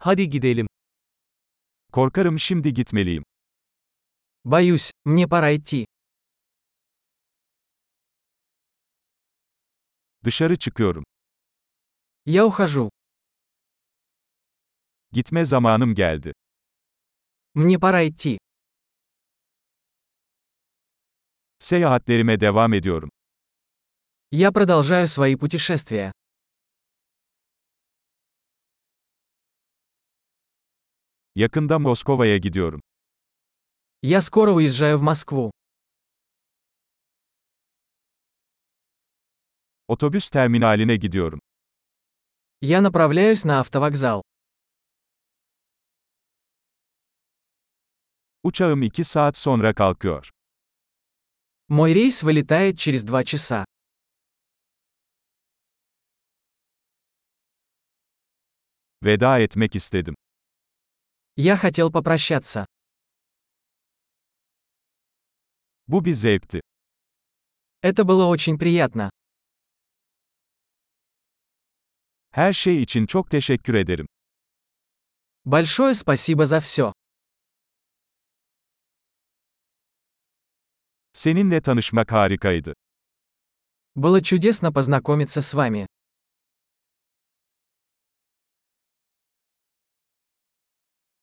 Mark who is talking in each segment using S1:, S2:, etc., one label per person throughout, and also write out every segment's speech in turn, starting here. S1: Hadi gidelim. Korkarım şimdi gitmeliyim.
S2: Боюсь, мне пора идти.
S1: Dışarı çıkıyorum.
S2: Я ухожу.
S1: Gitme zamanım geldi.
S2: Мне пора идти.
S1: Seyahatlerime devam ediyorum.
S2: Я продолжаю свои путешествия.
S1: Yakında Moskova'ya gidiyorum.
S2: Я скоро уезжаю в Москву.
S1: Otobüs terminaline gidiyorum.
S2: Я направляюсь на автовокзал.
S1: Uçağım 2 saat sonra kalkıyor.
S2: Мой рейс вылетает через два часа.
S1: Veda etmek istedim.
S2: Я хотел попрощаться.
S1: Bu bir zevkti.
S2: Это было очень приятно.
S1: Her şey için çok teşekkür ederim.
S2: Большое спасибо за все.
S1: Seninle tanışmak harikaydı.
S2: Было чудесно познакомиться с вами.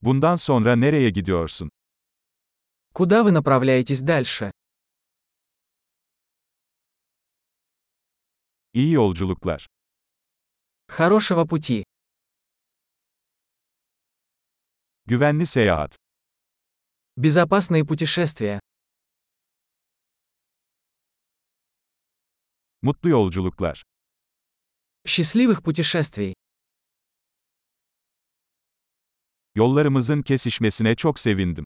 S1: Bundan sonra nereye gidiyorsun?
S2: Куда вы направляетесь дальше?
S1: İyi yolculuklar.
S2: Хорошего пути.
S1: Güvenli seyahat.
S2: Безопасные путешествия.
S1: Mutlu yolculuklar.
S2: Счастливых путешествий.
S1: Yollarımızın kesişmesine çok sevindim.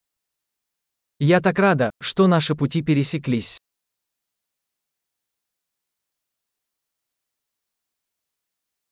S2: Я так рада, что наши пути пересеклись.